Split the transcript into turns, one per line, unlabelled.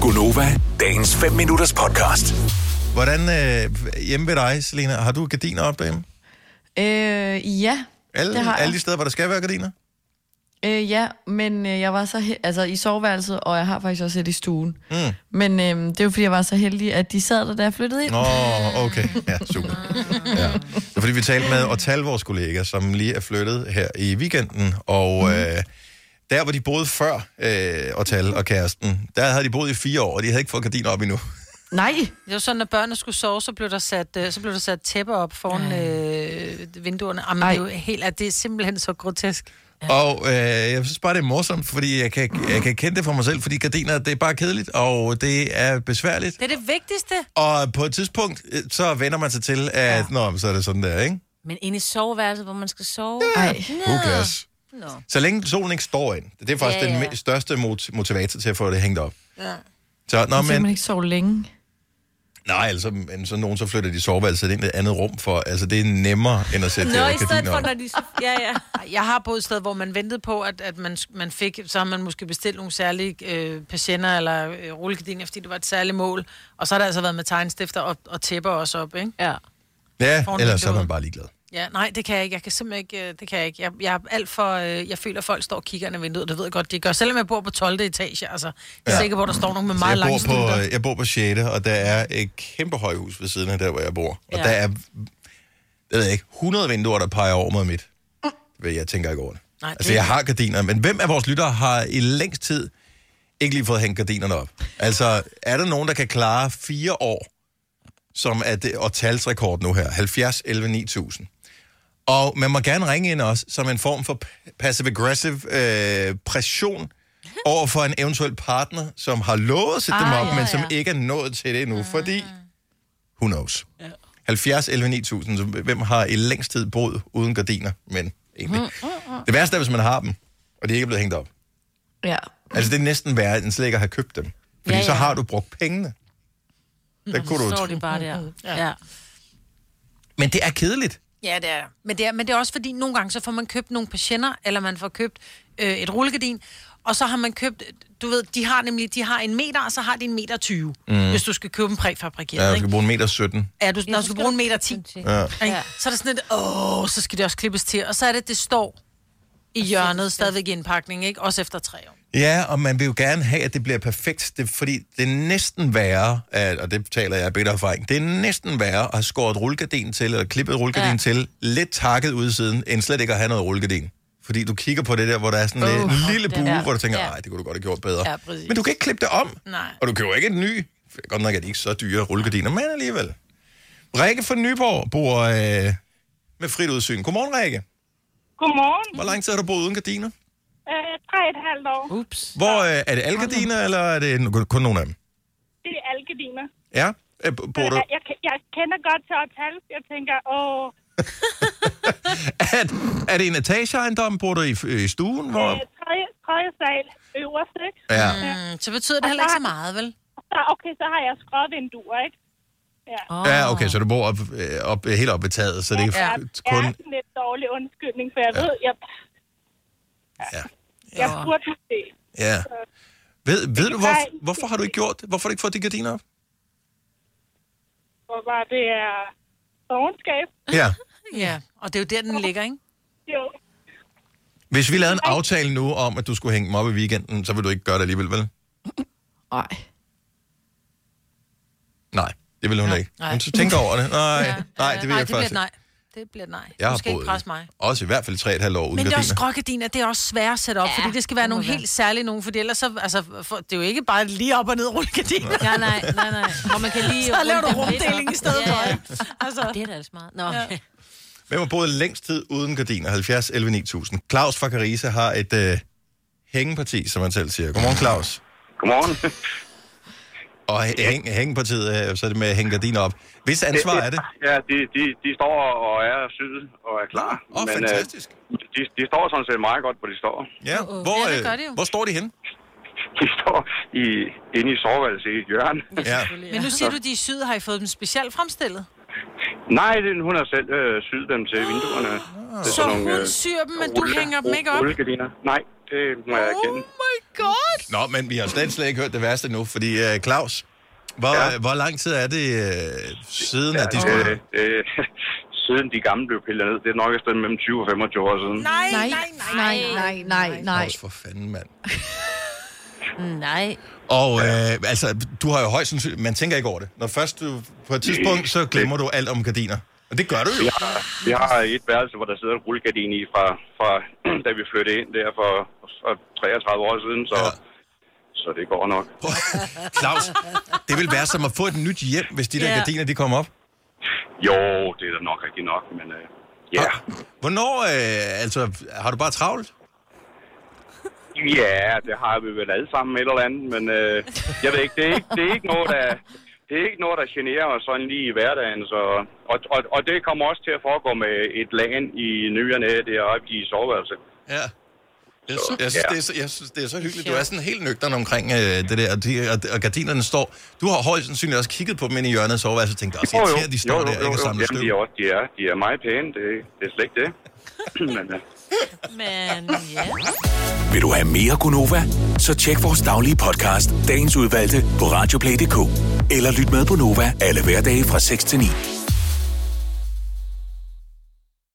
Gunova, dagens 5 minutters podcast.
Hvordan øh, hjemme ved dig, Selina, har du gardiner op derhjemme?
Øh, ja.
Alle,
Det har jeg.
alle de steder, hvor der skal være gardiner?
Øh, ja, men øh, jeg var så he- altså i soveværelset, og jeg har faktisk også et i stuen. Mm. Men øh, det er jo fordi, jeg var så heldig, at de sad der, da jeg flyttede ind.
Nå, okay. Ja, super. Ja. Det er fordi, vi talte med Otal, vores kollega, som lige er flyttet her i weekenden, og
Mhm.
øh, der, hvor de boede før øh, Otal og kæresten, der havde de boet i fire år, og de havde ikke fået gardiner op endnu.
Nej!
Det var sådan, når børnene skulle sove, så blev der sat, øh, så blev der sat tæpper op foran øh, vinduerne. Jamen, det er jo helt, at det er simpelthen så grotesk.
Og øh, jeg synes bare, det er morsomt, fordi jeg kan, jeg kan kende det for mig selv, fordi gardiner, det er bare kedeligt, og det er besværligt.
Det er det vigtigste.
Og på et tidspunkt, øh, så vender man sig til, at ja. nå, men så er det sådan der, ikke?
Men inde i soveværelset, hvor man skal sove?
Ej.
Who cares?
Nå.
Så længe solen ikke står ind. Det er faktisk
Ja,
ja, ja.
ja.
den me- største mot- motivator til at få det hængt op.
Ja.
Så, nå,
Og men...
men,
man ikke sove længe.
nej, altså, men så nogen så flytter de soveværelset ind i et andet rum, for altså, det er nemmere, end at sætte
Nå,
øh,
i stedet
gardiner
for,
op.
når de... Ja, ja.
Jeg har boet et sted, hvor man ventede på, at, at man, man fik, så har man måske bestilt nogle særlige øh, patienter eller øh, rullegardiner, fordi det var et særligt mål. Og så har der altså været med tegnstifter og, og tæpper også op, ikke?
ja.
Ja,
foran
ellers så er
vinduet.
man bare ligeglad.
Ja, nej, det kan jeg ikke. Jeg kan simpelthen ikke, øh, det kan jeg ikke. Jeg, jeg er alt for, øh, jeg føler, at folk står og kigger ind ad vinduet, det ved jeg godt, de gør. Selvom jeg bor på 12. etage, altså. Jeg er
Ja.
ja. sikker på, at der står nogen med
Så jeg
meget lange
bor, på,
stunder.
øh, jeg bor på 6. og der er et kæmpe højhus ved siden af der, hvor jeg bor. Og
Ja.
der er, jeg ved ikke, 100 vinduer, der peger over mod mit. Ved Jeg tænker ikke over det.
Nej,
altså,
det-
jeg har gardiner, men hvem af vores lyttere har i længst tid ikke lige fået hængt gardinerne op? Altså, er der nogen, der kan klare fire år, som er det årtalsrekord nu her? 70, 11, 9000. Og man må gerne ringe ind også, som en form for p- passive-aggressive øh, pression over for en eventuel partner, som har lovet at sætte ah, dem
Ah,
op, ja,
ja,
men som
ja.
ikke er nået til det endnu, mm. fordi who knows. Ja. 70, 11, 9000, så hvem har i længst tid boet uden gardiner, men egentlig.
Mm,
Det værste er, hvis man har dem, og de ikke er blevet hængt op.
Ja.
Altså, det er næsten værre, end slet ikke at have købt dem. Fordi ja, ja.
Ja, ja. Mm,
så har du brugt pengene. Der kunne
Så
du...
står de bare der. Ja.
Men det er kedeligt.
Ja, det er. Men det er, men det er også fordi, nogle gange så får man købt nogle patienter, eller man får købt øh, et rullegardin, og så har man købt, du ved, de har nemlig, de har en meter, og så har de en meter 20, mm. hvis du skal købe en præfabrikeret,
Ja,
ja,
jeg
ikke?
skal bruge en meter 17.
Ja, du, når du skal bruge en meter 10,
Ja.
ja. så er det sådan et, åh, så skal det også klippes til, og så er det, det står i hjørnet, stadigvæk i indpakningen, ikke? Også efter tre år.
Ja, og man vil jo gerne have, at det bliver perfekt, det, fordi det er næsten værre, at, og det taler jeg af bedre erfaring, det er næsten værre at have skåret rullegardin til, eller klippet rullegardin ja.
Ja.
til, lidt takket udsiden, end slet ikke at have noget rullegardin. Fordi du kigger på det der, hvor der er sådan uh, en lille
det
bue,
der.
hvor du tænker, nej,
Ja.
det kunne du godt have gjort bedre.
Ja, præcis.
men du kan ikke klippe det om,
Nej.
og du køber ikke en ny. Godt nok er de ikke så dyre rullegardiner, men alligevel. Rikke fra Nyborg bor øh, med frit udsyn. Godmorgen, Rikke.
Godmorgen.
Hvor lang tid har du boet uden gardiner?
Øh, tre og et halvt år.
Ups.
Hvor øh, er det alle gardiner, eller er det kun nogle af dem?
Det er algediner.
Ja, øh, b- bor du...
Jeg, jeg, jeg kender godt til at tale. Jeg tænker, åh,
Er, er det en etageejendom? Bor du i, øh, i stuen? Hvor...
øh, tredje, tredje sal øverst, ikke?
Ja.
Mm, så betyder det heller ikke så meget, vel?
Så, okay, så har jeg skråvinduer, ikke? Ja.
Oh.
ja, okay, så du bor op, øh, op, øh, helt oppe ved taget, så det er
Ja,
ja,
jeg
kun...
er sådan lidt dårlig undskyldning, for jeg ved, jeg,
Ja.
jeg burde måske.
ja. Ved, ved du,
Nej.
hvor, hvorfor har du ikke gjort det? Hvorfor har du ikke fået de gardiner op?
Hvor var det er dogenskab?
Ja.
Ja, og det er jo der, den ligger, ikke?
Jo.
Hvis vi lavede en aftale nu om, at du skulle hænge dem op i weekenden, så vil du ikke gøre det alligevel, vel?
Ej.
Nej, det vil hun
Nej.
ikke.
Nej.
Men så tænk over det. Nej,
Ja.
nej, det vil jeg
det bliver
faktisk
et
ikke.
nej. Det bliver et nej.
Jeg
du
har
skal ikke presse mig.
boet også i hvert fald 3,5 år uden
Men det er også
gardiner.
skrågardiner, det er også svært at sætte op, ja, fordi det skal være
det må
nogle
være.
helt særlige nogen, for ellers så, altså, for, det er jo ikke bare lige op og ned rullegardiner. Ja.
Nej, nej, nej, nej. Og man kan lige...
Så laver du
runde dem lidt
rumdeling
op.
i stedet
Ja,
for,
ja.
ikke? Altså,
Det er da altså meget. Nå. Ja.
Hvem har boet længst tid uden gardiner? 70 11 9000. Claus fra Carisa har et øh, hængeparti, som han selv siger. Godmorgen, Claus.
Godmorgen.
Og hæng, hængepartiet, øh, så er det med at hænge gardiner op. Hvis ansvar er det?
Ja, de, de, de står og er syet og er klar.
Åh,
øh,
fantastisk.
de, de står sådan set meget godt, hvor de står.
Ja, hvor, øh,
Ja, det gør det jo.
hvor står de henne?
De står i, inde i soveværelset i et hjørne.
Ja.
men nu siger du, de er syet, har I fået dem specielt fremstillet?
Nej, det, er- hun har selv øh, syet dem til vinduerne.
Ah.
Det er
Så
sådan nogle,
hun
øh,
syr dem, men du
rulle-
hænger dem ikke op?
Rullegardiner. Nej, det må jeg erkende.
Oh my
godt.
Nå, men vi har slet, slet ikke hørt det værste nu, fordi øh, Claus, hvor, ja.
Ja.
hvor lang tid er det øh, siden, ja, at de
øh,
skulle...
øh, siden de gamle blev pillet ned, det er nok et sted mellem 20 og 25 år siden.
Nej,
Nej,
nej, nej.
nej, nej, nej, nej.
Claus, for fanden, mand.
Nej.
Og øh, altså, du har jo højst sandsynligt... Man tænker ikke over det. Når først du... På et tidspunkt, så glemmer du alt om gardiner. Og det gør du jo.
Vi har, vi har et værelse, hvor der sidder en rullegardin i fra, fra da vi flyttede ind der for, for 33 år siden, så,
Ja.
ja. så det går nok.
Prøv- Claus, det vil være som at få et nyt hjem, hvis de der
Ja.
gardiner, de kommer op.
Jo, det er da nok rigtigt nok, men øh, ja.
Ah. Hvornår, øh, altså, har du bare travlt?
Ja, det har vi vel alle sammen et eller andet, men øh, jeg ved ikke, det er ikke, det er ikke noget, der... Det er ikke noget, der generer os sådan lige i hverdagen, så, og, og, og det kommer også til at foregå med et lagen i nyerne deroppe i soveværelset.
Ja. Jeg, sy- jeg, synes,
Ja.
det er så, jeg synes, det er så hyggeligt. Du er sådan helt nøgteren omkring øh, det der, og, de, og, og gardinerne står... Du har højst sandsynligt også kigget på dem inde i hjørnet og sovet, og så tænkt, at
Jo, jo.
irriterer, de står
Jo, jo,
der
jo,
ikke og
jo.
samler
Jamen, de er,
støv.
også, de, er, de er meget pæne, det, det er slet ikke det. Men, øh,
Men ja.
Vil du have mere Gunova? Så tjek vores daglige podcast, dagens udvalgte, på radioplay.dk. Eller lyt med på Nova alle hverdage fra 6 til 9.